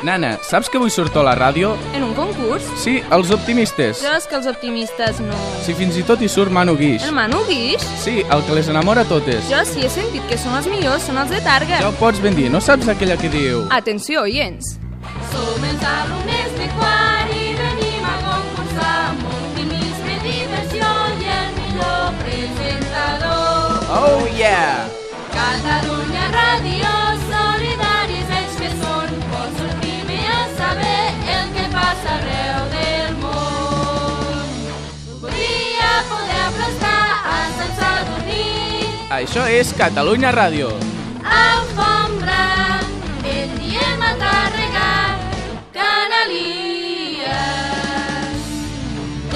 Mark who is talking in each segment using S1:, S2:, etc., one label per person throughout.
S1: Nana, saps que avui surto a la ràdio?
S2: En un concurs?
S1: Sí, els optimistes.
S2: Jo és que els optimistes no...
S1: Si fins i tot hi surt Manu Guix.
S2: El Manu Guix?
S1: Sí, el que les enamora totes.
S2: Jo sí he sentit que són els millors, són els de Targa.
S1: Ja ho pots ben dir, no saps aquella que diu...
S2: Atenció, oients.
S3: Som els alumnes de quart i venim a concursar amb optimisme, diversió i el millor presentador.
S2: Ah.
S1: Oh yeah!
S3: Catalunya Ràdio, solidaris ells que són, vols el primer a saber el que passa arreu del món. Volia poder aplastar a Sant Sadurní,
S1: Això és Catalunya Ràdio.
S3: alfombra, el diem a Tàrrega, canalies.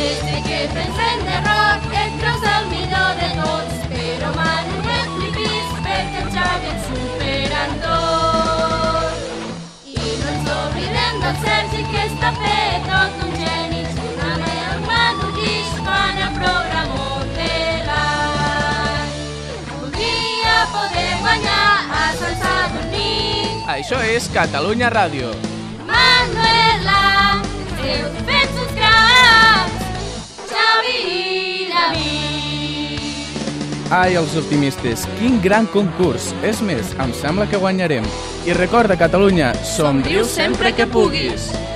S3: Des de que pensem de rock et creus el millor de tots, però Manu no et flipis perquè el Xavi et supera en tot. I no ens oblidem del Sergi que està fet tot un geni, junt amb el Manu Guix fan el programa de l'any. Voldria poder guanyar a Sant Sadurní,
S1: Això és Catalunya Ràdio.
S3: Manuela, seus fets uns cracs, Xavi i David.
S1: Ai, els optimistes, quin gran concurs. És més, em sembla que guanyarem. I recorda, Catalunya, somriu sempre que puguis.